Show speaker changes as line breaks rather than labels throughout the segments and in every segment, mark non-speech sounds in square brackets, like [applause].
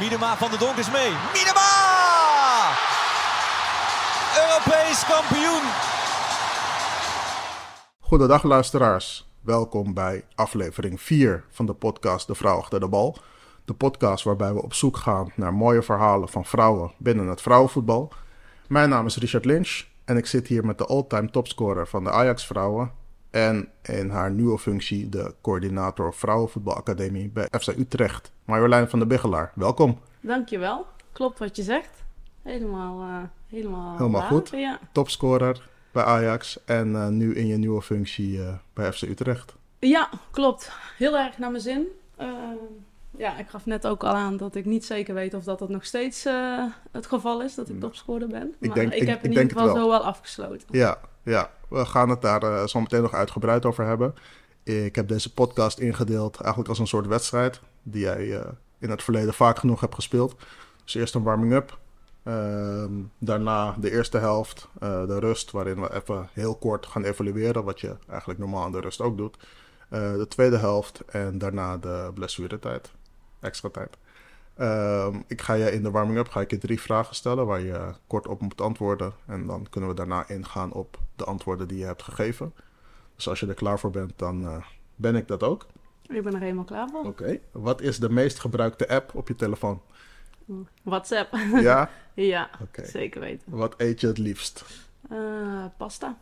Miedema van de Donk is mee. Miedema! Europees kampioen.
Goedendag luisteraars. Welkom bij aflevering 4 van de podcast De Vrouw achter de bal. De podcast waarbij we op zoek gaan naar mooie verhalen van vrouwen binnen het vrouwenvoetbal. Mijn naam is Richard Lynch en ik zit hier met de all-time topscorer van de Ajax vrouwen en in haar nieuwe functie de coördinator vrouwenvoetbalacademie bij FC Utrecht. Marjolein van der Biggelaar, welkom.
Dankjewel. Klopt wat je zegt. Helemaal, eh, helemaal,
Helemaal
waar.
goed.
Ja.
Topscorer bij Ajax en eh, nu in je nieuwe functie eh, bij FC Utrecht.
ja, klopt. Heel erg naar mijn zin. Eh, ja, ik gaf net ook al aan dat ik niet zeker weet of dat, dat nog steeds eh, het geval is, dat ik topscorer ben.
Mm. Ik
maar
denk- ik-
ik heb
ik
in
denk
ieder
het
geval
wel.
zo wel afgesloten.
Ja, ja. We gaan het daar eh, zo meteen nog uitgebreid over hebben. Ik heb deze podcast ingedeeld eigenlijk als een soort wedstrijd die jij eh, in het verleden vaak genoeg hebt gespeeld. Dus eerst een warming-up, ehm, daarna de eerste helft, eh, de rust, waarin we even heel kort gaan evalueren, wat je eigenlijk normaal aan de rust ook doet. Eh, de tweede helft en daarna de blessuretijd, extra tijd. Ehm, ik ga je in de warming-up ga ik je drie vragen stellen waar je kort op moet antwoorden. En dan kunnen we daarna ingaan op de antwoorden die je hebt gegeven. Dus als je er klaar voor bent, dan eh, ben ik dat ook.
Ik ben er helemaal klaar voor.
Oké. Wat is de meest gebruikte app op je telefoon? [laughs]
WhatsApp. [laughs]
Ja?
ja,
Oké.
zeker weten.
Wat eet je het liefst?
Eh, pasta.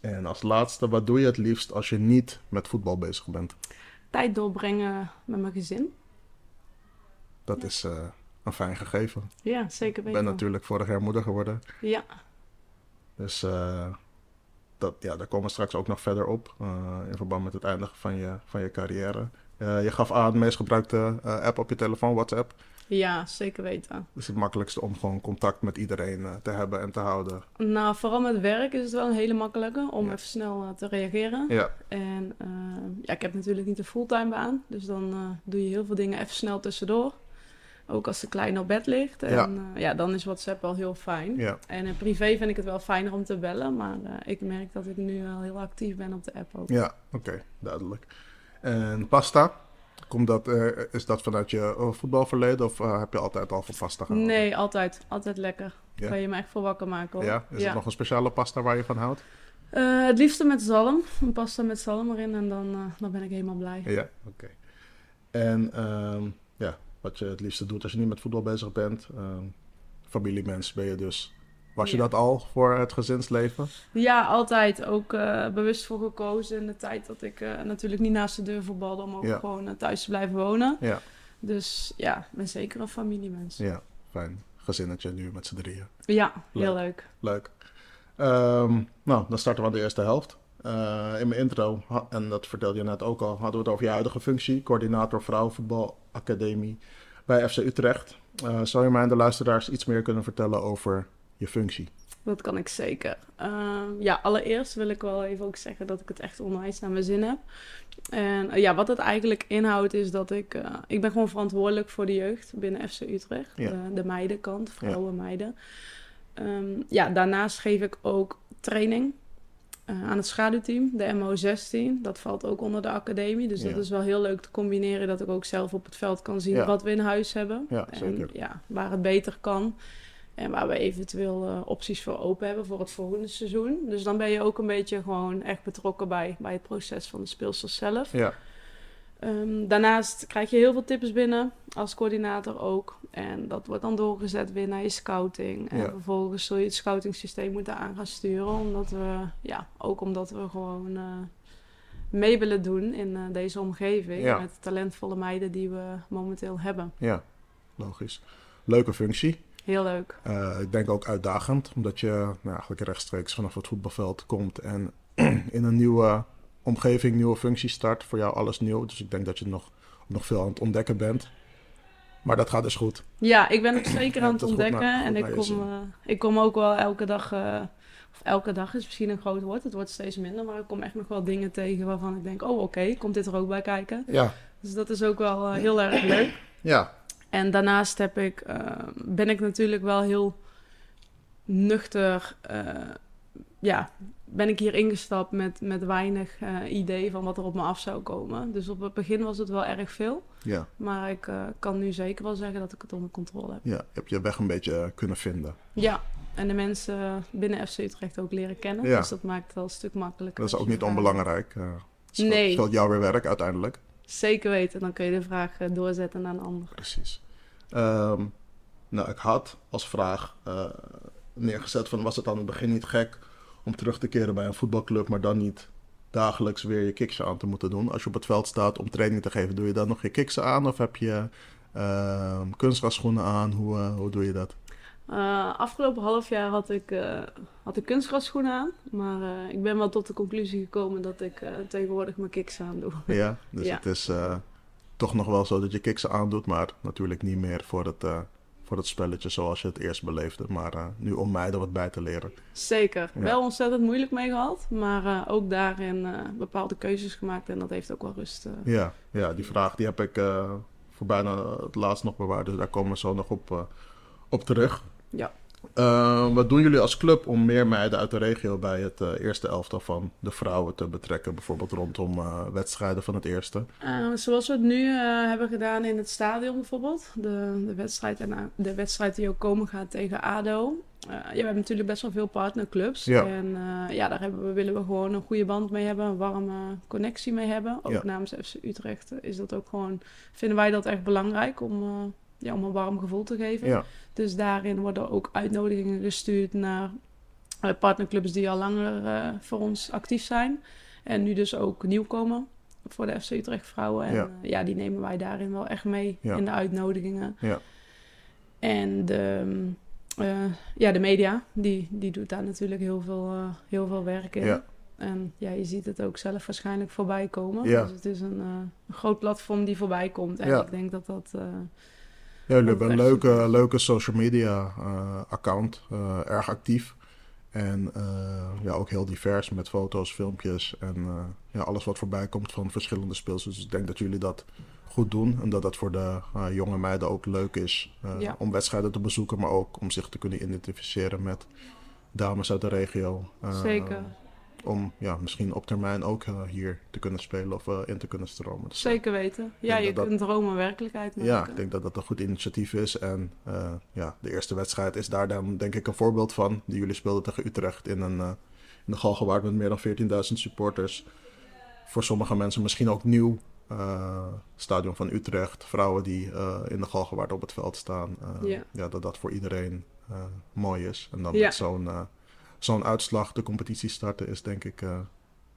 En als laatste, wat doe je het liefst als je niet met voetbal bezig bent?
Tijd doorbrengen met mijn gezin.
Dat is eh, een fijn gegeven.
Ja, zeker
Ik
weten.
ben natuurlijk vorig jaar moeder geworden.
Ja,
Dus eh, dat, ja, daar komen we straks ook nog verder op. eh, in verband met het eindigen van je, van je carrière. Eh, je gaf aan de meest gebruikte eh, app op je telefoon, WhatsApp.
ja, zeker weten.
Dat is het makkelijkste om gewoon contact met iedereen eh, te hebben en te houden.
Nou, vooral met werk is het wel een hele makkelijke om
Ja.
even snel eh, te reageren.
Ja,
En eh, ja, ik heb natuurlijk niet een fulltime baan, dus dan eh, doe je heel veel dingen even snel tussendoor. Ook als de kleine op bed ligt. En
Ja.
ja, ja dan is WhatsApp wel heel fijn.
ja.
En eh, privé vind ik het wel fijner om te bellen, maar eh, ik merk dat ik nu wel heel actief ben op de app ook.
ja oké, duidelijk. En pasta? Komt dat, eh, is dat vanuit je eh, voetbalverleden of eh, heb je altijd al van pasta gehouden?
Nee, altijd. Altijd lekker.
Ja.
Kan je me echt voor wakker maken hoor.
Ja? Is er nog een speciale pasta waar je van houdt?
Eh, het liefste met zalm. Een pasta met zalm erin en dan, eh, dan ben ik helemaal blij.
Ja, oké. En ehm, ja, wat je het liefste doet als je niet met voetbal bezig bent, ehm, familiemens ben je dus. Was je
Ja.
dat al voor het gezinsleven?
Ja, altijd. Ook eh, bewust voor gekozen in de tijd dat ik eh, natuurlijk niet naast de deur voetbalde om ook
Ja.
gewoon eh, thuis te blijven wonen.
Ja.
Dus ja, ik ben zeker een familiemens. Ja,
Ja, fijn. Gezinnetje nu met z'n drieën.
heel leuk.
Leuk. Ehm, nou, dan starten we aan de eerste helft. Eh, in mijn intro, ha- en dat vertelde je net ook al, hadden we het over je huidige functie, coördinator vrouwenvoetbalacademie bij FC Utrecht. Eh, zou je mij en de luisteraars iets meer kunnen vertellen over je functie?
Dat kan ik zeker. Ehm, ja, allereerst wil ik wel even ook zeggen dat ik het echt onwijs naar mijn zin heb. En eh, ja, wat het eigenlijk inhoudt is dat ik... eh, ik ben gewoon verantwoordelijk voor de jeugd binnen FC Utrecht.
Ja.
De, de meidenkant, vrouwen, meiden. Ehm, ja, daarnaast geef ik ook training eh, aan het schaduwteam, de MO16. Dat valt ook onder de academie. Dus
Ja.
dat is wel heel leuk te combineren. Dat ik ook zelf op het veld kan zien
Ja.
wat we in huis hebben.
Ja,
en
zeker.
Ja, waar het beter kan. En waar we eventueel eh, opties voor open hebben voor het volgende seizoen. Dus dan ben je ook een beetje gewoon echt betrokken bij, bij het proces van de speelsters zelf.
Ja,
Ehm, daarnaast krijg je heel veel tips binnen, als coördinator ook. En dat wordt dan doorgezet weer naar je scouting. En
Ja.
vervolgens zul je het scoutingssysteem moeten aan gaan sturen. Omdat we, ja, ook omdat we gewoon eh mee willen doen in eh, deze omgeving.
Ja.
Met talentvolle meiden die we momenteel hebben.
ja, logisch. Leuke functie.
Heel leuk.
Eh, ik denk ook uitdagend, omdat je nou, eigenlijk rechtstreeks vanaf het voetbalveld komt en [clears throat] in een nieuwe omgeving, nieuwe functie start. Voor jou alles nieuw, dus ik denk dat je nog, nog veel aan het ontdekken bent. Maar dat gaat dus goed.
Ja, ik ben
[clears throat]
het zeker aan
dat goed
het ontdekken.
naar- goed
en
naar
ik
je
kom,
zin.
eh, ik kom ook wel elke dag. eh, of elke dag is misschien een groot woord. Het wordt steeds minder. Maar ik kom echt nog wel dingen tegen waarvan ik denk: oh, oké, komt dit er ook bij kijken?
Ja,
Dus dat is ook wel eh, heel erg leuk.
ja,
En daarnaast heb ik, eh, ben ik natuurlijk wel heel nuchter eh, ja, ben ik hier ingestapt met, met weinig eh, idee van wat er op me af zou komen. Dus op het begin was het wel erg veel.
Ja,
Maar ik eh, kan nu zeker wel zeggen dat ik het onder controle heb.
ja, heb je weg een beetje eh, kunnen vinden.
Ja, en de mensen binnen FC Utrecht ook leren kennen.
Ja.
Dus dat maakt het wel een stuk makkelijker.
Dat is
als
ook
je
niet
vraagt.
onbelangrijk. eh, het scheelt-
Nee.
scheelt jou weer werk uiteindelijk.
Zeker weten, dan kun je de vraag eh, doorzetten naar een ander.
Precies. Ehm, nou, ik had als vraag eh, neergezet van was het aan het begin niet gek om terug te keren bij een voetbalclub, maar dan niet dagelijks weer je kiksen aan te moeten doen. Als je op het veld staat om training te geven, doe je dan nog je kiksen aan of heb je ehm kunstgrasschoenen aan? Hoe, eh, hoe doe je dat?
Eh, afgelopen half jaar had ik, eh had ik kunstgrasschoenen aan. Maar eh, ik ben wel tot de conclusie gekomen dat ik eh, tegenwoordig mijn kicks aan doe. [laughs]
Ja, dus
Ja.
het is eh, toch nog wel zo dat je kiksen aandoet, maar natuurlijk niet meer voor het, eh, voor het spelletje zoals je het eerst beleefde. Maar eh, nu om mij er wat bij te leren.
Zeker.
Ja.
Wel ontzettend moeilijk mee gehad. Maar eh, ook daarin eh, bepaalde keuzes gemaakt. En dat heeft ook wel rust. eh.
Ja, ja die vraag die heb ik eh, voor bijna het laatst nog bewaard. Dus daar komen we zo nog op, eh, op terug.
Ja.
Eh, wat doen jullie als club om meer meiden uit de regio bij het eh, eerste elftal van de vrouwen te betrekken? Bijvoorbeeld rondom eh, wedstrijden van het eerste.
Eh, zoals we het nu eh, hebben gedaan in het stadion bijvoorbeeld. De, de, wedstrijd, en, eh, de wedstrijd die ook komen gaat tegen ADO. Eh, ja, we hebben natuurlijk best wel veel partnerclubs.
Ja.
En eh, ja, daar hebben we, willen we gewoon een goede band mee hebben. Een warme connectie mee hebben. Ook
Ja.
namens FC Utrecht eh, is dat ook gewoon... Vinden wij dat echt belangrijk om, eh, ja, om een warm gevoel te geven.
Ja,
Dus daarin worden ook uitnodigingen gestuurd naar eh, partnerclubs die al langer eh, voor ons actief zijn. En nu dus ook nieuwkomen voor de FC Utrecht vrouwen. En
Ja.
ja, ja die nemen wij daarin wel echt mee
Ja.
in de uitnodigingen.
Ja.
En de, mm, eh, ja, de media, die, die doet daar natuurlijk heel veel, eh, heel veel werk in.
Ja.
En ja, je ziet het ook zelf waarschijnlijk voorbij komen.
Ja.
Dus het is een, eh, een groot platform die voorbij komt. En
Ja.
ik denk dat dat... eh,
ja jullie
Dat
hebben een
echt
leuke, leuke social media eh, account. eh, erg actief. En eh, ja, ook heel divers met foto's, filmpjes en eh, ja, alles wat voorbij komt van verschillende speelsters. Dus ik denk dat jullie dat goed doen en dat dat voor de eh, jonge meiden ook leuk is eh,
Ja.
om wedstrijden te bezoeken, maar ook om zich te kunnen identificeren met dames uit de regio. Eh,
zeker.
Om ja, misschien op termijn ook eh, hier te kunnen spelen of eh, in te kunnen stromen. Dus, eh,
Zeker weten. Ja,
denk
je
dat dat-
kunt dromen werkelijkheid maken.
ja, ik denk dat dat een goed initiatief is. En eh, ja, de eerste wedstrijd is daar dan denk ik een voorbeeld van. Die jullie speelden tegen Utrecht in, een, eh in de Galgenwaard met meer dan 14.000 supporters. Voor sommige mensen misschien ook nieuw. eh, stadion van Utrecht, vrouwen die eh, in de Galgenwaard op het veld staan. Eh,
Ja.
ja, dat dat voor iedereen eh, mooi is. En dan
Ja.
met zo'n eh, zo'n uitslag de competitie starten is denk ik eh,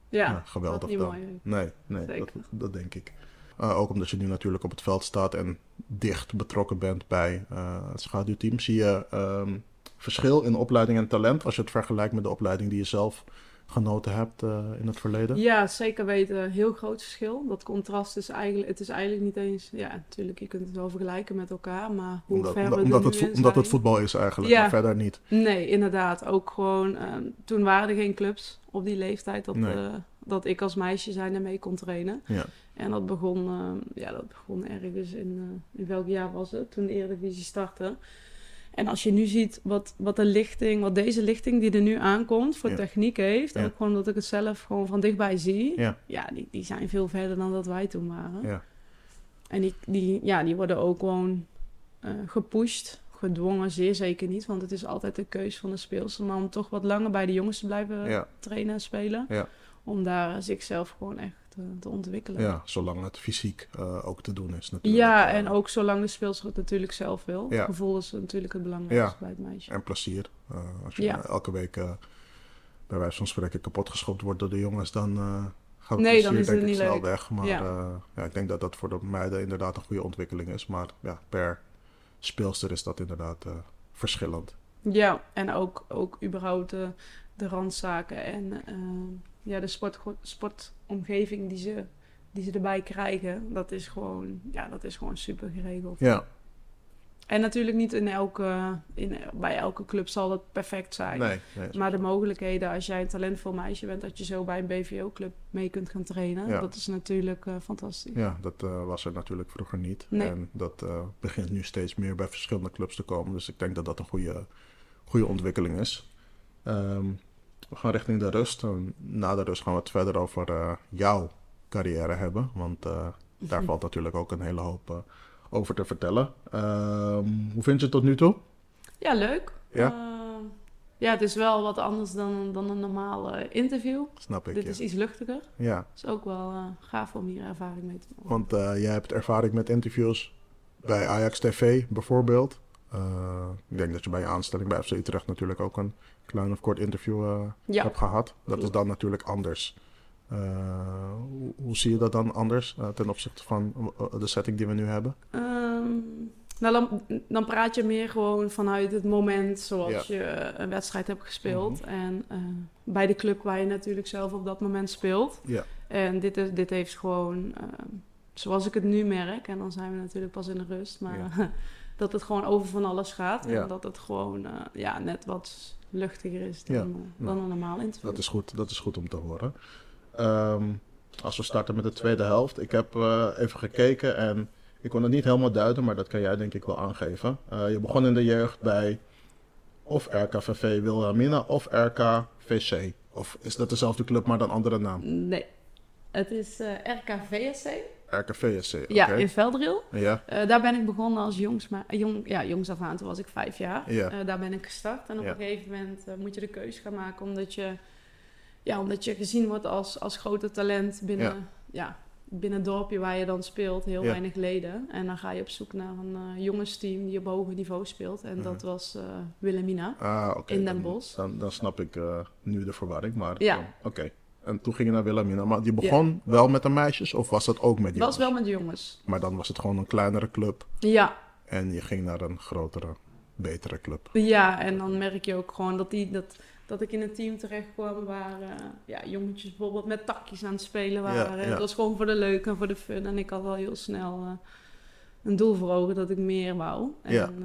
ja,
ja, Nou, geweldig.
dat niet
dan.
mooi.
Nee, nee dat,
Zeker.
dat denk ik. Eh, ook omdat je nu natuurlijk op het veld staat en dicht betrokken bent bij eh, het schaduwteam. Zie je ehm, verschil in opleiding en talent als je het vergelijkt met de opleiding die je zelf genoten hebt eh, in het verleden?
Ja, zeker weten. Heel groot verschil. Dat contrast is eigenlijk, het is eigenlijk niet eens... Ja, natuurlijk, je kunt het wel vergelijken met elkaar, maar hoe
omdat
ver
omdat-
we
omdat
er
het,
nu
vo-
in
omdat het
zijn.
voetbal is eigenlijk,
Ja.
maar verder niet.
Nee, inderdaad. Ook gewoon, ehm, toen waren er geen clubs op die leeftijd dat,
Nee.
eh, dat ik als meisje zijnde mee kon trainen.
Ja.
En dat begon, ehm, ja, dat begon ergens in, eh, in welk jaar was het, toen de Eredivisie startte. En als je nu ziet wat, wat de lichting, wat deze lichting die er nu aankomt voor
Ja.
techniek heeft,
Ja.
ook gewoon omdat ik het zelf gewoon van dichtbij zie,
Ja.
die, die zijn veel verder dan dat wij toen waren.
Ja.
En die, die, ja, die worden ook gewoon eh, gepusht. Gedwongen zeer zeker niet, want het is altijd de keus van de speelster. Maar om toch wat langer bij de jongens te blijven
Ja,
trainen en spelen.
Ja.
Om daar zichzelf gewoon echt eh, te ontwikkelen.
ja, zolang het fysiek eh, ook te doen is natuurlijk.
Ja,
Eh,
en ook zolang de speelster het natuurlijk zelf wil.
Ja.
Gevoel is natuurlijk het belangrijkste
Ja.
bij het meisje.
En plezier. Eh, als je
Ja.
elke week eh, bij wijze van spreken kapotgeschopt wordt door de jongens, dan eh gaat het
Nee, dan
plezier
is het
denk ik
niet
snel
leuk.
weg. Maar
Ja.
eh, ja, ik denk dat dat voor de meiden inderdaad een goede ontwikkeling is. Maar ja, per speelster is dat inderdaad eh, verschillend.
Ja, en ook, ook überhaupt de, de randzaken en eh, ja, de sport, sportomgeving die ze, die ze erbij krijgen. Dat is gewoon, ja, dat is gewoon super geregeld.
Ja,
En natuurlijk niet in elke, in, bij elke club zal dat perfect zijn.
nee. nee is-
Maar de mogelijkheden, als jij een talentvol meisje bent, dat je zo bij een BVO-club mee kunt gaan trainen,
Ja.
dat is natuurlijk eh, fantastisch.
ja, dat eh, was er natuurlijk vroeger niet.
Nee.
En dat eh, begint nu steeds meer bij verschillende clubs te komen. Dus ik denk dat dat een goede, goede ontwikkeling is. Ehm, We gaan richting de rust. En na de rust gaan we het verder over eh, jouw carrière hebben. Want eh, daar valt natuurlijk ook een hele hoop eh, over te vertellen. Ehm, hoe vind je het tot nu toe?
Ja, leuk.
Ja.
Eh, ja, het is wel wat anders dan, dan een normale interview.
Snap ik.
Dit
ja.
is iets luchtiger.
Ja,
is ook wel eh, gaaf om hier ervaring mee te maken.
want eh, jij hebt ervaring met interviews bij Ajax TV bijvoorbeeld. Eh, ik denk dat je bij je aanstelling bij FC Utrecht natuurlijk ook een klein of kort interview eh,
Ja.
hebt gehad. Dat is
Klopt.
dan natuurlijk anders. Eh, hoe, hoe zie je dat dan anders eh, ten opzichte van eh, de setting die we nu hebben?
Ehm, nou, dan, dan praat je meer gewoon vanuit het moment zoals je een wedstrijd hebt
Mhm.
gespeeld. En eh, bij de club waar je natuurlijk zelf op dat moment speelt.
Ja.
En dit, is, dit heeft gewoon, ehm, zoals ik het nu merk, en dan zijn we natuurlijk pas in de rust, maar [laughs] dat het gewoon over van alles gaat.
Ja.
En dat het gewoon eh, ja, net wat luchtiger is dan,
Ja.
eh, dan een normaal interview.
Dat is goed, dat is goed om te horen. Ehm, als we starten met de tweede helft. Ik heb eh, even gekeken en ik kon het niet helemaal duiden, maar dat kan jij denk ik wel aangeven. Eh, je begon in de jeugd bij of RKVV Wilhelmina of RKVC. Of is dat dezelfde club, maar dan andere naam?
Nee. Het is eh RKVSC.
RKVSC, oké.
Ja, in Veldril.
ja.
Eh, daar ben ik begonnen als jongs, maar, eh, jong, ja, jongs af aan, toen was ik vijf jaar.
Ja.
Eh, daar ben ik gestart. En op
Ja.
een gegeven moment eh, moet je de keuze gaan maken, omdat je, ja, omdat je gezien wordt als, als grote talent binnen,
Ja.
ja. binnen het dorpje waar je dan speelt, heel
Ja.
weinig leden. En dan ga je op zoek naar een eh, jongensteam die op hoger niveau speelt.
Mhm.
En dat was eh, Willemina.
Ah, oké.
In Den
dan-
Bosch.
Dan, dan snap ik eh, nu de verwarring, maar
Ja.
dan- oké. En toen ging je naar Wilhelmina, maar die begon wel met de meisjes of was dat ook met
Dat was
jongens?
wel met jongens.
Maar dan was het gewoon een kleinere club.
Ja,
En je ging naar een grotere, betere club.
Ja, en dan merk je ook gewoon dat, die, dat, dat ik in een team terecht kwam waar eh, ja, jongetjes bijvoorbeeld met takjes aan het spelen waren.
ja.
Het was gewoon voor de leuk en voor de fun. En ik had al heel snel eh, een doel voor ogen dat ik meer wou. En
Ja.
eh,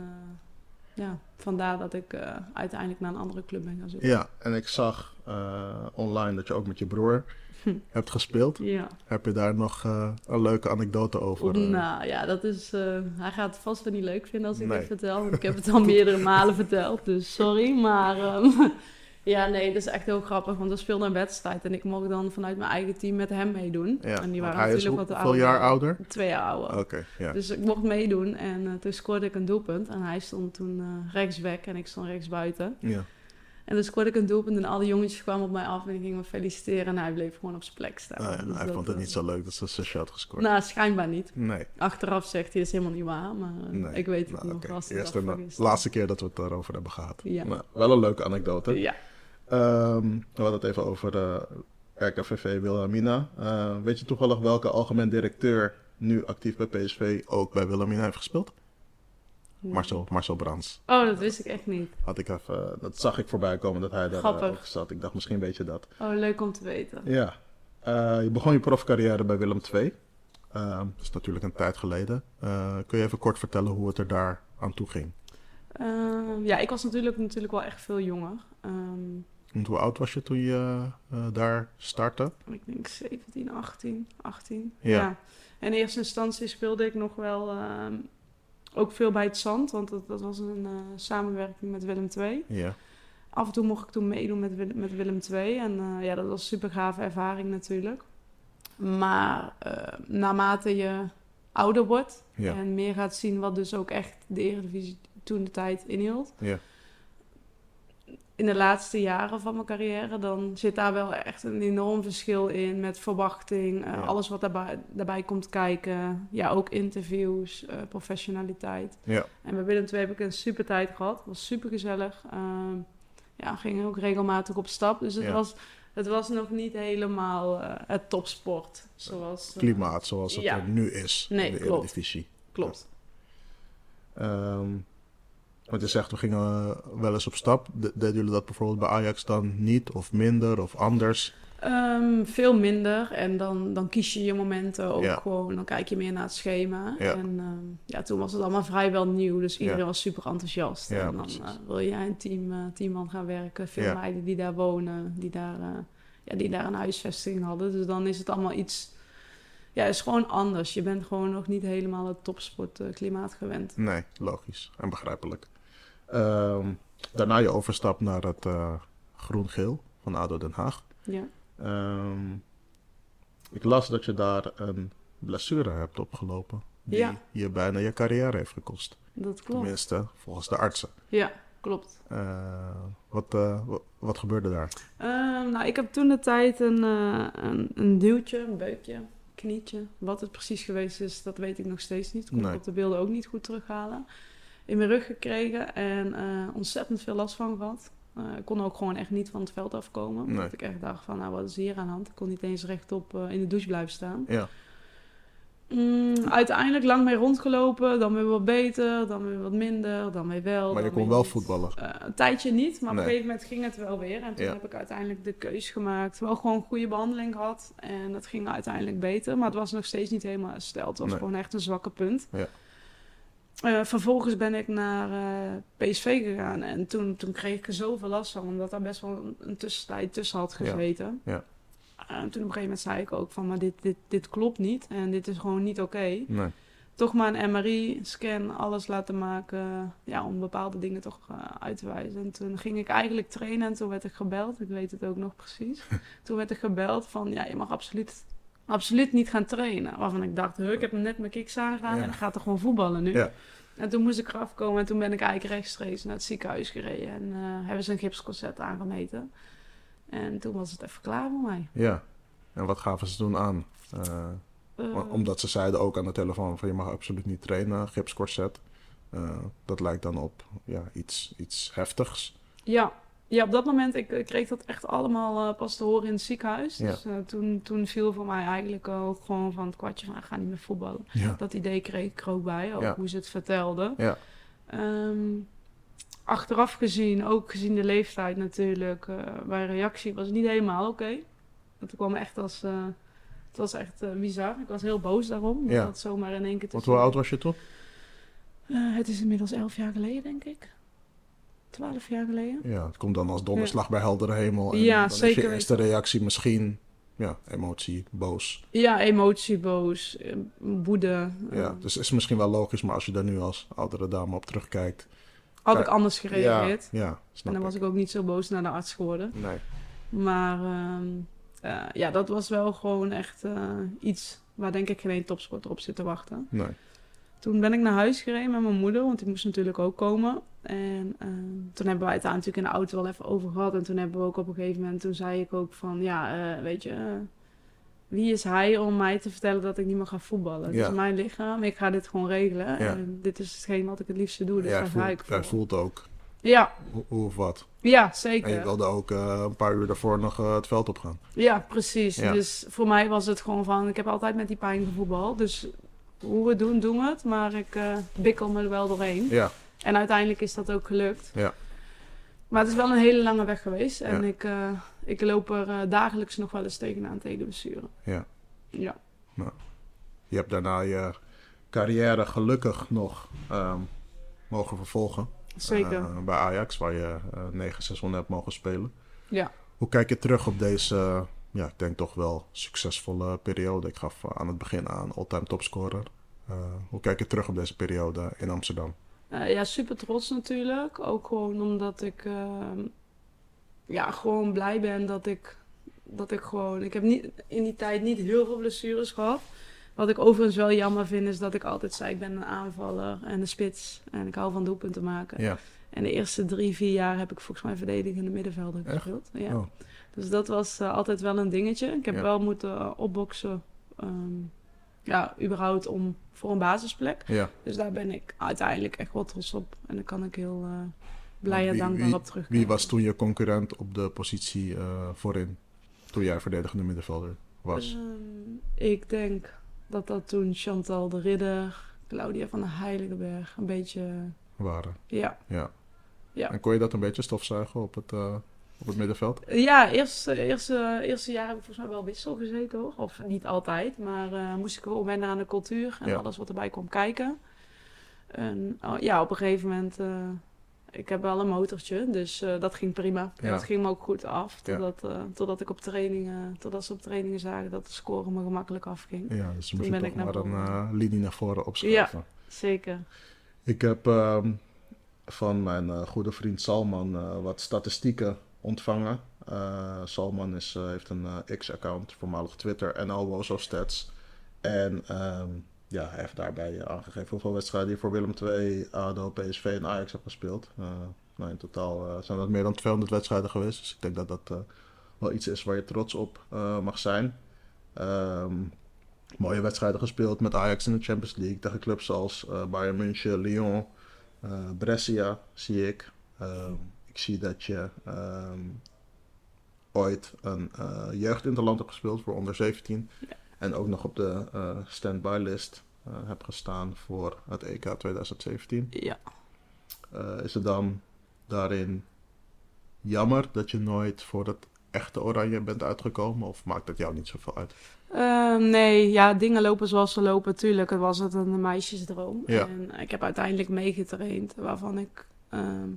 ja, vandaar dat ik eh, uiteindelijk naar een andere club ben gaan zoeken.
Ja, en ik zag eh, online dat je ook met je broer
[laughs]
hebt gespeeld.
Ja.
Heb je daar nog eh, een leuke anekdote over? eh?
Nou ja, dat is. eh, hij gaat het vast wel niet leuk vinden als ik
Nee.
dit vertel. Want ik heb
[laughs]
het al meerdere malen verteld, dus sorry. Maar ehm, [laughs] ja, nee, dat is echt heel grappig. Want we speelden een wedstrijd en ik mocht dan vanuit mijn eigen team met hem meedoen.
Ja,
en die
want
waren
hij is
natuurlijk
hoe-
wat
hoeveel jaar ouder?
Twee jaar ouder.
Oké, ja.
Dus ik mocht meedoen en eh, toen scoorde ik een doelpunt. En hij stond toen eh rechtsback en ik stond rechtsbuiten.
ja.
En toen scoorde ik een doelpunt en al die jongetjes kwamen op mij af en die gingen me feliciteren. En hij bleef gewoon op zijn plek staan.
Ah, ja,
Dus
hij
dat,
vond het
eh,
niet zo leuk dat ze zusje had gescoord.
Nou, schijnbaar niet.
nee,
Achteraf zegt hij, is helemaal niet waar, maar eh,
nee.
ik weet het
Nou,
nog.
oké.
als de
Eerst
dag
en
van
de
gisteren.
laatste keer dat we het daarover hebben gehad.
Ja.
Nou, wel een leuke anekdote.
Ja.
Ehm, we hadden het even over eh RKVV Wilhelmina. Eh, weet je toevallig welke algemeen directeur nu actief bij PSV ook bij Wilhelmina heeft gespeeld? Marcel, Marcel Brands.
Oh, dat wist ik echt niet.
Had ik even, eh, dat zag ik voorbij komen dat hij daar eh,
Grappig.
ook zat. Ik dacht misschien weet je dat.
Oh, leuk om te weten.
Ja. Eh, je begon je profcarrière bij Willem II. Ehm, dat is natuurlijk een tijd geleden. Eh, kun je even kort vertellen hoe het er daar aan toe ging?
Ehm, ja, ik was natuurlijk, natuurlijk wel echt veel jonger. Ehm,
Want hoe oud was je toen je eh, daar startte?
ik denk 17, 18, 18.
Ja.
En in eerste instantie speelde ik nog wel ehm, ook veel bij het Zand, want dat, dat was een eh, samenwerking met Willem II.
Ja.
af en toe mocht ik toen meedoen met, Wil- met Willem II. En eh, ja, dat was een super gave ervaring natuurlijk. Maar eh, naarmate je ouder wordt
Ja.
en meer gaat zien wat dus ook echt de Eredivisie toen de tijd inhield.
Ja.
In de laatste jaren van mijn carrière, dan zit daar wel echt een enorm verschil in met verwachting, eh,
Ja.
alles wat daarbij, daarbij komt kijken. Ja, ook interviews, eh, professionaliteit.
Ja.
En bij Willem II heb ik een super tijd gehad. Het was super gezellig. ja, ging ook regelmatig op stap. Dus het,
Ja.
was, het was nog niet helemaal eh, het topsport. Zoals, eh,
Klimaat zoals het
Ja.
er nu is
Nee,
in de
klopt.
Eredivisie.
Klopt.
Ehm want je zegt, we gingen eh, wel eens op stap. De- Deden jullie dat bijvoorbeeld bij Ajax dan niet of minder of anders?
Ehm, veel minder. En dan, dan kies je je momenten ook
Ja.
gewoon. Dan kijk je meer naar het schema.
Ja.
En ehm, ja, toen was het allemaal vrijwel nieuw. Dus iedereen
Ja.
was super enthousiast.
Ja,
en dan
precies.
eh, wil jij een team, eh, team aan gaan werken. Veel
Ja.
meiden die daar wonen. Die daar, eh, ja, die daar een huisvesting hadden. Dus dan is het allemaal iets... Ja, is gewoon anders. Je bent gewoon nog niet helemaal het topsportklimaat gewend.
Nee, logisch en begrijpelijk. Ehm, daarna je overstap naar het eh, groen-geel van ADO Den Haag.
Ja.
Ehm, ik las dat je daar een blessure hebt opgelopen. Die
Ja.
je bijna je carrière heeft gekost.
Dat klopt.
Tenminste, volgens de artsen.
Ja, klopt.
Eh, wat, eh, wa- wat gebeurde daar?
Ehm, nou, ik heb toen de tijd een, eh, een, een duwtje, een beukje, knietje. Wat het precies geweest is, dat weet ik nog steeds niet. Kon
Nee.
ik op de beelden ook niet goed terughalen. In mijn rug gekregen en eh, ontzettend veel last van gehad. Eh, ik kon ook gewoon echt niet van het veld afkomen. Omdat
Nee.
ik echt dacht van, nou wat is hier aan de hand? Ik kon niet eens rechtop eh, in de douche blijven staan.
Ja,
Mm, uiteindelijk lang mee rondgelopen. Dan weer wat beter, dan weer wat minder, dan weer wel.
maar je
dan
kon
weer
wel
niet.
voetballen.
Eh, een tijdje niet, maar op
Nee.
een gegeven moment ging het wel weer. En toen
Ja.
heb ik uiteindelijk de keus gemaakt. Wel gewoon goede behandeling gehad. En dat ging uiteindelijk beter. Maar het was nog steeds niet helemaal hersteld. Het was
Nee.
gewoon echt een zwakke punt.
Ja.
Eh, vervolgens ben ik naar eh, PSV gegaan. En toen, toen kreeg ik er zoveel last van. Omdat daar best wel een, een tussentijd tussen had
Ja.
gezeten.
Ja.
En toen op een gegeven moment zei ik ook van... Maar dit, dit, dit klopt niet. En dit is gewoon niet oké
Nee.
toch maar een MRI-scan, alles laten maken. Ja, om bepaalde dingen toch eh, uit te wijzen. En toen ging ik eigenlijk trainen en toen werd ik gebeld. Ik weet het ook nog precies.
[laughs]
toen werd ik gebeld van, ja, je mag absoluut, absoluut niet gaan trainen. Waarvan ik dacht, huh, ik heb net mijn kicks aangedaan
Ja.
en ik ga toch gewoon voetballen nu.
Ja.
En toen moest ik eraf komen en toen ben ik eigenlijk rechtstreeks naar het ziekenhuis gereden. En eh, hebben ze een gipscorset aangemeten. En toen was het even klaar voor mij.
Ja. En wat gaven ze toen aan? Eh,
Eh,
Om- Omdat ze zeiden ook aan de telefoon van je mag absoluut niet trainen, gipscorset. Eh, dat lijkt dan op ja, iets, iets heftigs.
Ja. ja, op dat moment ik, ik kreeg dat echt allemaal eh, pas te horen in het ziekenhuis.
Ja.
Dus eh, toen, toen viel voor mij eigenlijk ook gewoon van het kwartje van "Ah, ik ga niet meer voetballen.
Ja.
Dat idee kreeg ik er ook bij, ook
Ja.
hoe ze het vertelden.
Ja.
Ehm, achteraf gezien, ook gezien de leeftijd natuurlijk, eh, mijn reactie was niet helemaal oké. Dat kwam echt als... eh, het was echt eh, bizar. Ik was heel boos daarom.
Ja.
Ja. Dat zomaar in één keer te
Want hoe
zien.
oud was je toen?
Eh, het is inmiddels elf jaar geleden, denk ik. Twaalf jaar geleden.
Ja, het komt dan als donderslag bij heldere hemel. En
Ja,
dan is je
zeker
eerste reactie misschien ja, emotie, boos.
Ja, emotie, boos, eh, woede. eh,
Ja, dus is misschien wel logisch, maar als je daar nu als oudere dame op terugkijkt.
Had ik anders gereageerd.
Ja, ja snap
en dan
ik.
was ik ook niet zo boos naar de arts geworden.
Nee.
Maar ehm, eh, ja, dat was wel gewoon echt eh, iets waar denk ik geen één topsporter op zit te wachten.
nee.
Toen ben ik naar huis gereden met mijn moeder, want die moest natuurlijk ook komen. En ehm, toen hebben wij het daar natuurlijk in de auto wel even over gehad. En toen hebben we ook op een gegeven moment, toen zei ik ook van, ja, eh, weet je, eh, wie is hij om mij te vertellen dat ik niet meer ga voetballen? Het
Ja.
is mijn lichaam, ik ga dit gewoon regelen. En dit is hetgeen wat ik het liefste doe, dus
jij,
daar ga ik
voelt, jij
voor.
voelt ook
Ja,
hoe, hoe of wat.
ja,
En je
zeker.
wilde ook eh, een paar uur daarvoor nog eh, het veld op gaan.
Ja, precies.
Ja.
Dus voor mij was het gewoon van, ik heb altijd met die pijn gevoetbald. Dus hoe we het doen, doen we het. Maar ik eh bikkel me er wel doorheen.
Ja,
En uiteindelijk is dat ook gelukt.
Ja.
Maar het is wel een hele lange weg geweest. En
Ja.
ik, eh, ik loop er eh, dagelijks nog wel eens tegenaan tegen de blessure.
Ja.
Ja.
Je hebt daarna je carrière gelukkig nog ehm, mogen vervolgen.
Zeker.
Eh, bij Ajax, waar je eh 9 seizoenen hebt mogen spelen.
Ja.
Hoe kijk je terug op deze, eh, ja, ik denk toch wel succesvolle periode? Ik gaf eh, aan het begin aan all-time topscorer. Eh, hoe kijk je terug op deze periode in Amsterdam?
Eh, ja, super trots natuurlijk. Ook gewoon omdat ik ehm, ja, gewoon blij ben dat ik, dat ik gewoon... Ik heb niet, in die tijd niet heel veel blessures gehad. Wat ik overigens wel jammer vind is dat ik altijd zei ik ben een aanvaller en een spits. En ik hou van doelpunten maken.
Ja.
En de eerste drie, vier jaar heb ik volgens mij verdedigende middenvelder
Echt?
gespeeld. Ja.
Oh.
Dus dat was eh, altijd wel een dingetje. Ik heb
Ja.
wel moeten eh, opboksen. ehm, ja, überhaupt om, voor een basisplek.
Ja,
Dus daar ben ik uiteindelijk echt wel trots op. En daar kan ik heel eh, blij en
Wie-
dankbaar op terugkijken.
wie was toen je concurrent op de positie eh, voorin? Toen jij verdedigende middenvelder was?
Ehm, ik denk dat dat toen Chantal de Ridder, Claudia van de Heiligenberg, een beetje...
waren.
Ja, Ja.
En kon je dat een beetje stofzuigen op het, eh, op het middenveld?
ja eerste, eerste, eerste jaar heb ik volgens mij wel wissel gezeten hoor. Of niet altijd, maar eh, moest ik wel wennen aan de cultuur en
Ja.
alles wat erbij kwam kijken. En, oh, ja, op een gegeven moment... eh, ik heb wel een motortje, dus eh, dat ging prima.
Ja.
En dat ging me ook goed af.
Ja.
Totdat, eh, totdat ik op trainingen, totdat ze op trainingen zagen dat de score me gemakkelijk afging.
Ja, dus moest je
ben
toch
ik naar
maar een
voren.
eh, linie naar voren opschuiven.
Zeker.
Ik heb ehm, van mijn eh, goede vriend Salman eh, wat statistieken ontvangen Eh, Salman is, eh, heeft een eh, X-account, voormalig Twitter, en al of stats. En ehm, ja, hij heeft daarbij eh, aangegeven hoeveel wedstrijden hij voor Willem II, ADO, PSV en Ajax heeft gespeeld. Eh, nou, in totaal eh, zijn dat meer dan 200 wedstrijden geweest. Dus ik denk dat dat eh, wel iets is waar je trots op eh, mag zijn. Ehm, mooie wedstrijden gespeeld met Ajax in de Champions League. Tegen clubs als eh, Bayern München, Lyon, eh, Brescia zie ik. Ehm, ik zie dat je ehm, ooit een eh jeugdinterland hebt gespeeld voor onder 17. En ook nog op de eh standby list eh hebt gestaan voor het EK 2017.
Ja.
Eh, is het dan daarin jammer dat je nooit voor het echte oranje bent uitgekomen? Of maakt dat jou niet zoveel uit?
Ehm, nee, ja, dingen lopen zoals ze lopen. Tuurlijk, het was het een meisjesdroom.
Ja.
En eh, ik heb uiteindelijk meegetraind, waarvan ik ehm,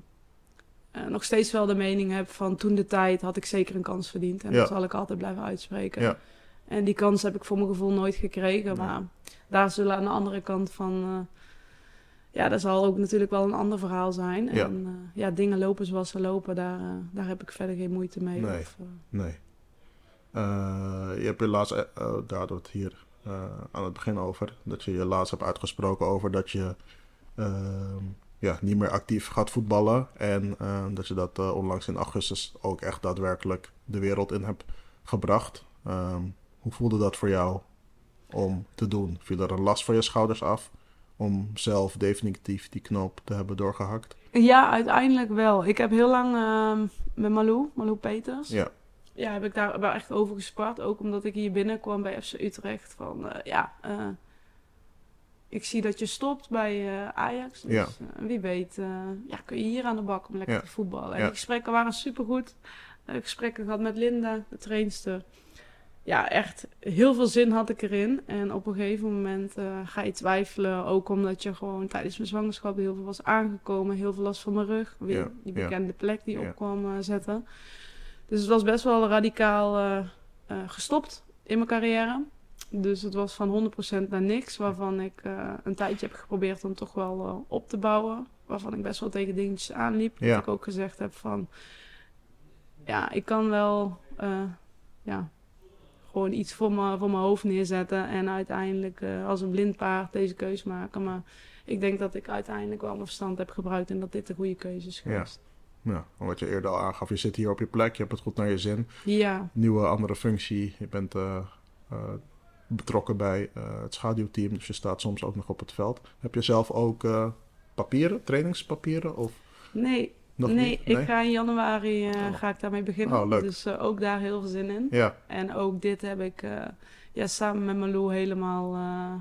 eh, nog steeds wel de mening heb van toen de tijd had ik zeker een kans verdiend. En
Ja.
dat zal ik altijd blijven uitspreken.
Ja.
En die kans heb ik voor mijn gevoel nooit gekregen.
Nee.
Maar daar zullen aan de andere kant van... eh, ja, dat zal ook natuurlijk wel een ander verhaal zijn.
Ja.
En eh, ja, dingen lopen zoals ze lopen, daar, eh, daar heb ik verder geen moeite mee.
Nee.
Of, eh,
Nee. Eh, je hebt je laatst, eh, eh, daar hadden we het hier eh, aan het begin over, dat je je laatst hebt uitgesproken over dat je ehm, ja, niet meer actief gaat voetballen. En ehm, dat je dat eh, onlangs in augustus ook echt daadwerkelijk de wereld in hebt gebracht. Ehm, hoe voelde dat voor jou om te doen? Viel er een last van je schouders af om zelf definitief die knoop te hebben doorgehakt?
Ja, uiteindelijk wel. Ik heb heel lang ehm, met Malou, Malou Peters.
Ja.
Ja, heb ik daar wel echt over gespart. Ook omdat ik hier binnenkwam bij FC Utrecht. Van eh, ja, eh, ik zie dat je stopt bij eh, Ajax. Dus
Ja.
eh, wie weet, eh, ja, kun je hier aan de bak om lekker
Ja.
te voetballen. En
Ja.
die gesprekken waren supergoed. Eh, gesprekken gehad met Linda, de trainster. Ja, echt heel veel zin had ik erin. En op een gegeven moment eh, ga je twijfelen. Ook omdat je gewoon tijdens mijn zwangerschap heel veel was aangekomen. Heel veel last van mijn rug. Weer
Ja,
die
ja.
bekende plek die
Ja.
op kwam eh, zetten. Dus het was best wel radicaal eh, eh, gestopt in mijn carrière. Dus het was van 100% naar niks. Waarvan ik eh, een tijdje heb geprobeerd om toch wel eh, op te bouwen. Waarvan ik best wel tegen dingetjes aanliep.
Ja.
Dat ik ook gezegd heb van... Ja, ik kan wel... eh, ja, gewoon iets voor mijn, voor mijn hoofd neerzetten. En uiteindelijk eh, als een blind paard deze keus maken. Maar ik denk dat ik uiteindelijk wel mijn verstand heb gebruikt. En dat dit de goede keuze is
Ja.
geweest.
Ja, wat je eerder al aangaf, je zit hier op je plek, je hebt het goed naar je zin.
ja.
nieuwe andere functie. Je bent eh, eh, betrokken bij eh, het schaduwteam, dus je staat soms ook nog op het veld. Heb je zelf ook eh, papieren, trainingspapieren of
Nee,
nog
nee,
niet?
ik ga in januari eh, ga ik daarmee beginnen.
Oh, leuk.
Dus eh, ook daar heel veel zin in.
Ja,
En ook dit heb ik eh, ja, samen met Malou helemaal... eh,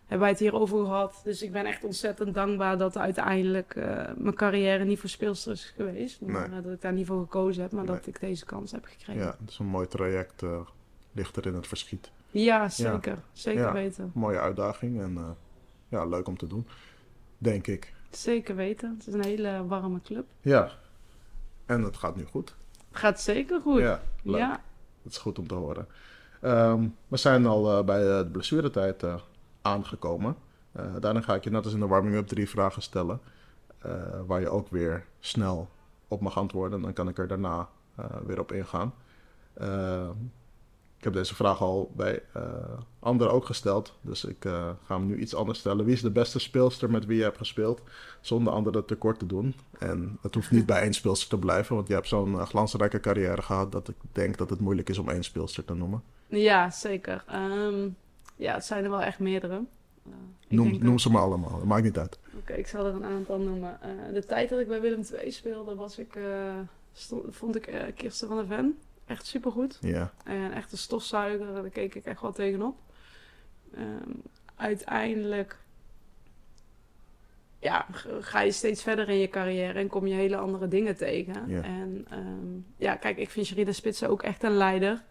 hebben wij het hierover gehad. Dus ik ben echt ontzettend dankbaar dat uiteindelijk eh, mijn carrière niet voor speelster is geweest. Maar eh, dat ik daar niet voor gekozen heb, maar
Nee.
dat ik deze kans heb gekregen.
ja, het is een mooi traject, eh, ligt er in het verschiet.
Ja, zeker. Zeker
Ja.
weten.
Mooie uitdaging en eh, ja, leuk om te doen, denk ik.
Zeker weten. Het is een hele warme club.
Ja, en het gaat nu goed.
Het gaat zeker goed.
Ja, leuk.
ja.
Dat is goed om te horen. Ehm, we zijn al eh, bij eh, de blessuretijd eh, aangekomen. Eh, daarna ga ik je net als in de warming-up drie vragen stellen. eh, waar je ook weer snel op mag antwoorden. Dan kan ik er daarna eh, weer op ingaan. Ehm, ik heb deze vraag al bij eh, anderen ook gesteld. Dus ik eh, ga hem nu iets anders stellen. Wie is de beste speelster met wie je hebt gespeeld? Zonder anderen tekort te doen. En het hoeft niet bij één speelster te blijven. Want je hebt zo'n eh, glansrijke carrière gehad. Dat ik denk dat het moeilijk is om één speelster te noemen.
Ja, zeker. Ehm, ja, het zijn er wel echt meerdere. Eh, ik
Noem,
denk
noem
dat-
ze maar allemaal. Het maakt niet uit.
Oké, ik zal er een aantal noemen. Eh, de tijd dat ik bij Willem II speelde, was ik, eh, sto- vond ik eh, Kirsten van der Ven echt supergoed.
Ja.
En echt een stofzuiger, daar keek ik echt wel tegenop. Ehm, uiteindelijk ja, g- ga je steeds verder in je carrière en kom je hele andere dingen tegen.
Ja.
En ehm, ja, kijk, ik vind Sherida Spitsen ook echt een leider.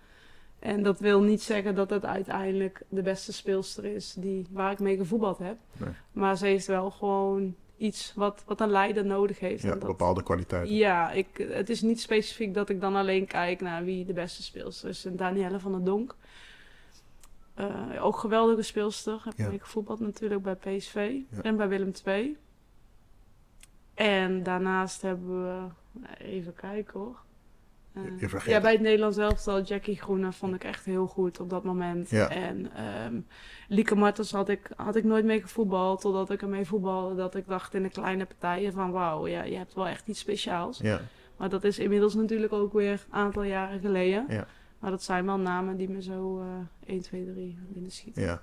En dat wil niet zeggen dat het uiteindelijk de beste speelster is die, waar ik mee gevoetbald heb.
Nee.
Maar ze heeft wel gewoon iets wat, wat een leider nodig heeft.
ja
En dat-
bepaalde kwaliteiten.
ja, ik, het is niet specifiek dat ik dan alleen kijk naar wie de beste speelster is. En Danielle van der Donk. Eh, ook geweldige speelster. Heb
Ja.
ik gevoetbald natuurlijk bij PSV
Ja.
en bij Willem II. En daarnaast hebben we, nou, even kijken hoor. Eh,
je vergeet
ja,
het.
bij het Nederlands elftal, Jackie Groene vond ik echt heel goed op dat moment.
Ja.
En ehm Lieke Martens had ik, had ik nooit mee gevoetbald, totdat ik ermee voetbalde. Dat ik dacht in de kleine partijen van wauw, ja, je hebt wel echt iets speciaals.
Ja,
Maar dat is inmiddels natuurlijk ook weer een aantal jaren geleden.
Ja.
Maar dat zijn wel namen die me zo eh 1, 2, 3 binnen schieten.
ja.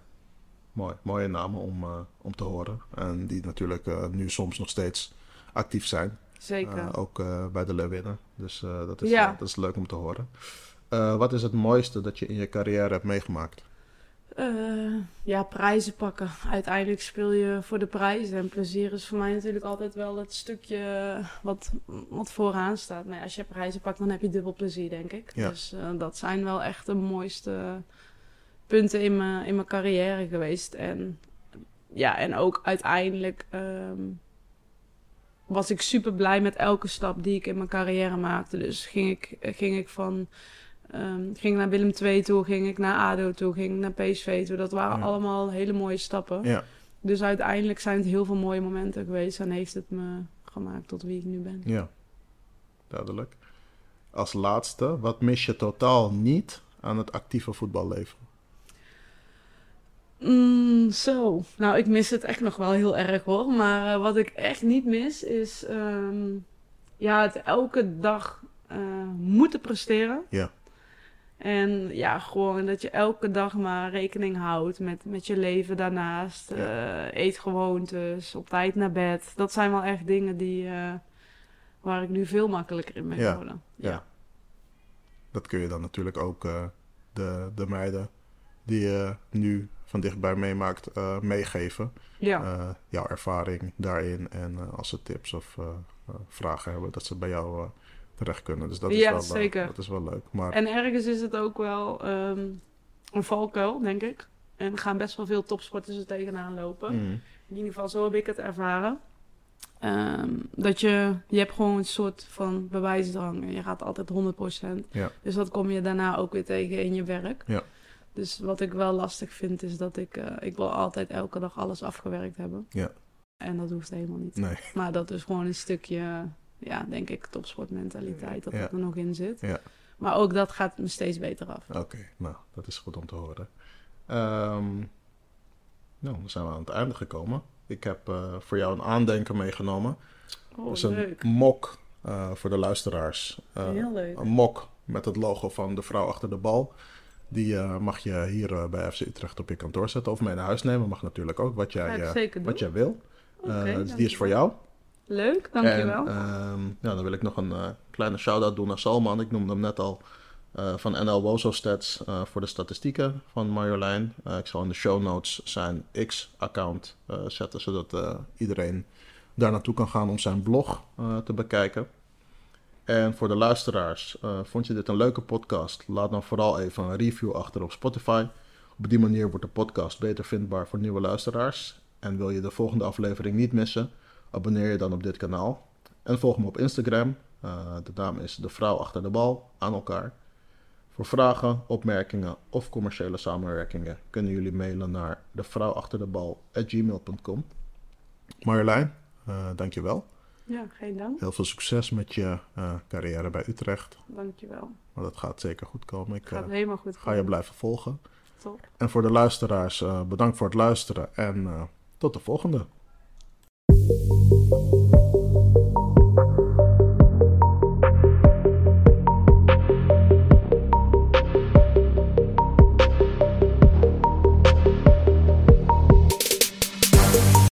Mooi, mooie namen om, eh, om te horen. En die natuurlijk eh, nu soms nog steeds actief zijn.
Zeker.
Eh, ook eh, bij de Leeuwinnen. Dus eh, dat, is,
Ja.
eh, dat is leuk om te horen. Eh, wat is het mooiste dat je in je carrière hebt meegemaakt?
Eh, ja, prijzen pakken. Uiteindelijk speel je voor de prijzen. En plezier is voor mij natuurlijk altijd wel het stukje wat, wat vooraan staat. Maar ja, als je prijzen pakt, dan heb je dubbel plezier, denk ik.
Ja.
Dus eh, dat zijn wel echt de mooiste punten in mijn, in mijn carrière geweest. En, ja, en ook uiteindelijk ehm, was ik super blij met elke stap die ik in mijn carrière maakte. Dus ging ik, ging ik van Ehm, ging naar Willem II toe, ging ik naar ADO toe, ging ik naar PSV toe. Dat waren
Ja.
allemaal hele mooie stappen.
Ja,
Dus uiteindelijk zijn het heel veel mooie momenten geweest. En heeft het me gemaakt tot wie ik nu ben.
ja. Duidelijk. Als laatste, wat mis je totaal niet aan het actieve voetballeven?
Mm, zo. Nou, ik mis het echt nog wel heel erg hoor. Maar eh, wat ik echt niet mis is ehm, ja, het elke dag eh, moeten presteren.
Ja.
En ja, gewoon dat je elke dag maar rekening houdt met, met je leven daarnaast.
Ja.
eh, eetgewoontes, op tijd naar bed. Dat zijn wel echt dingen die, eh, waar ik nu veel makkelijker in ben
Ja.
geworden.
Ja. Dat kun je dan natuurlijk ook eh, de, de meiden die je nu van dichtbij meemaakt eh, meegeven.
ja.
Eh, jouw ervaring daarin en eh, als ze tips of eh, eh, vragen hebben, dat ze bij jou eh, terecht kunnen. Dus dat is,
Ja,
wel, eh,
zeker.
dat is wel leuk. Maar
En ergens is het ook wel ehm, een valkuil, denk ik. En gaan best wel veel topsporters er tegenaan lopen.
Mm,
In ieder geval, zo heb ik het ervaren. Ehm, dat je, je hebt gewoon een soort van bewijsdrang. En je gaat altijd 100%.
Ja.
Dus dat kom je daarna ook weer tegen in je werk.
Ja.
Dus wat ik wel lastig vind, is dat ik... eh, ik wil altijd elke dag alles afgewerkt hebben.
Ja.
En dat hoeft helemaal niet.
nee,
Maar dat is gewoon een stukje, ja, denk ik, topsportmentaliteit, dat
Ja.
dat er nog in zit.
Ja.
Maar ook dat gaat me steeds beter af.
oké. Nou, dat is goed om te horen. Ehm, nou, dan zijn we aan het einde gekomen. Ik heb eh, voor jou een aandenken meegenomen.
Oh,
dat is een
leuk.
mok eh, voor de luisteraars. Eh,
Heel leuk.
een mok met het logo van de vrouw achter de bal. Die eh, mag je hier eh, bij FC Utrecht op je kantoor zetten of mee naar huis nemen. Mag natuurlijk ook, wat
Ga
jij,
ik
eh,
zeker doen.
wat jij wil. Eh,
Oké,
dus die is voor
dankjewel.
jou.
Leuk, dankjewel.
En ehm, ja, dan wil ik nog een eh, kleine shout-out doen naar Salman. Ik noemde hem net al. eh, van NL Wozo Stats eh, voor de statistieken van Marjolein. Eh, ik zal in de show notes zijn X-account eh, zetten, zodat eh, iedereen daar naartoe kan gaan om zijn blog eh, te bekijken. En voor de luisteraars, eh, vond je dit een leuke podcast? Laat dan vooral even een review achter op Spotify. Op die manier wordt de podcast beter vindbaar voor nieuwe luisteraars. En wil je de volgende aflevering niet missen, abonneer je dan op dit kanaal. En volg me op Instagram. Eh, de naam is De Vrouw Achter de Bal aan elkaar. Voor vragen, opmerkingen of commerciële samenwerkingen kunnen jullie mailen naar devrouwachterdebal.gmail.com. Marjolein, eh dankjewel.
Ja, geen dank.
Heel veel succes met je eh, carrière bij Utrecht.
Dankjewel.
Want dat gaat zeker goed komen. Ik eh,
Gaat helemaal goed.
ga je
komen.
blijven volgen.
Top.
En voor de luisteraars, eh, bedankt voor het luisteren. En eh, tot de volgende.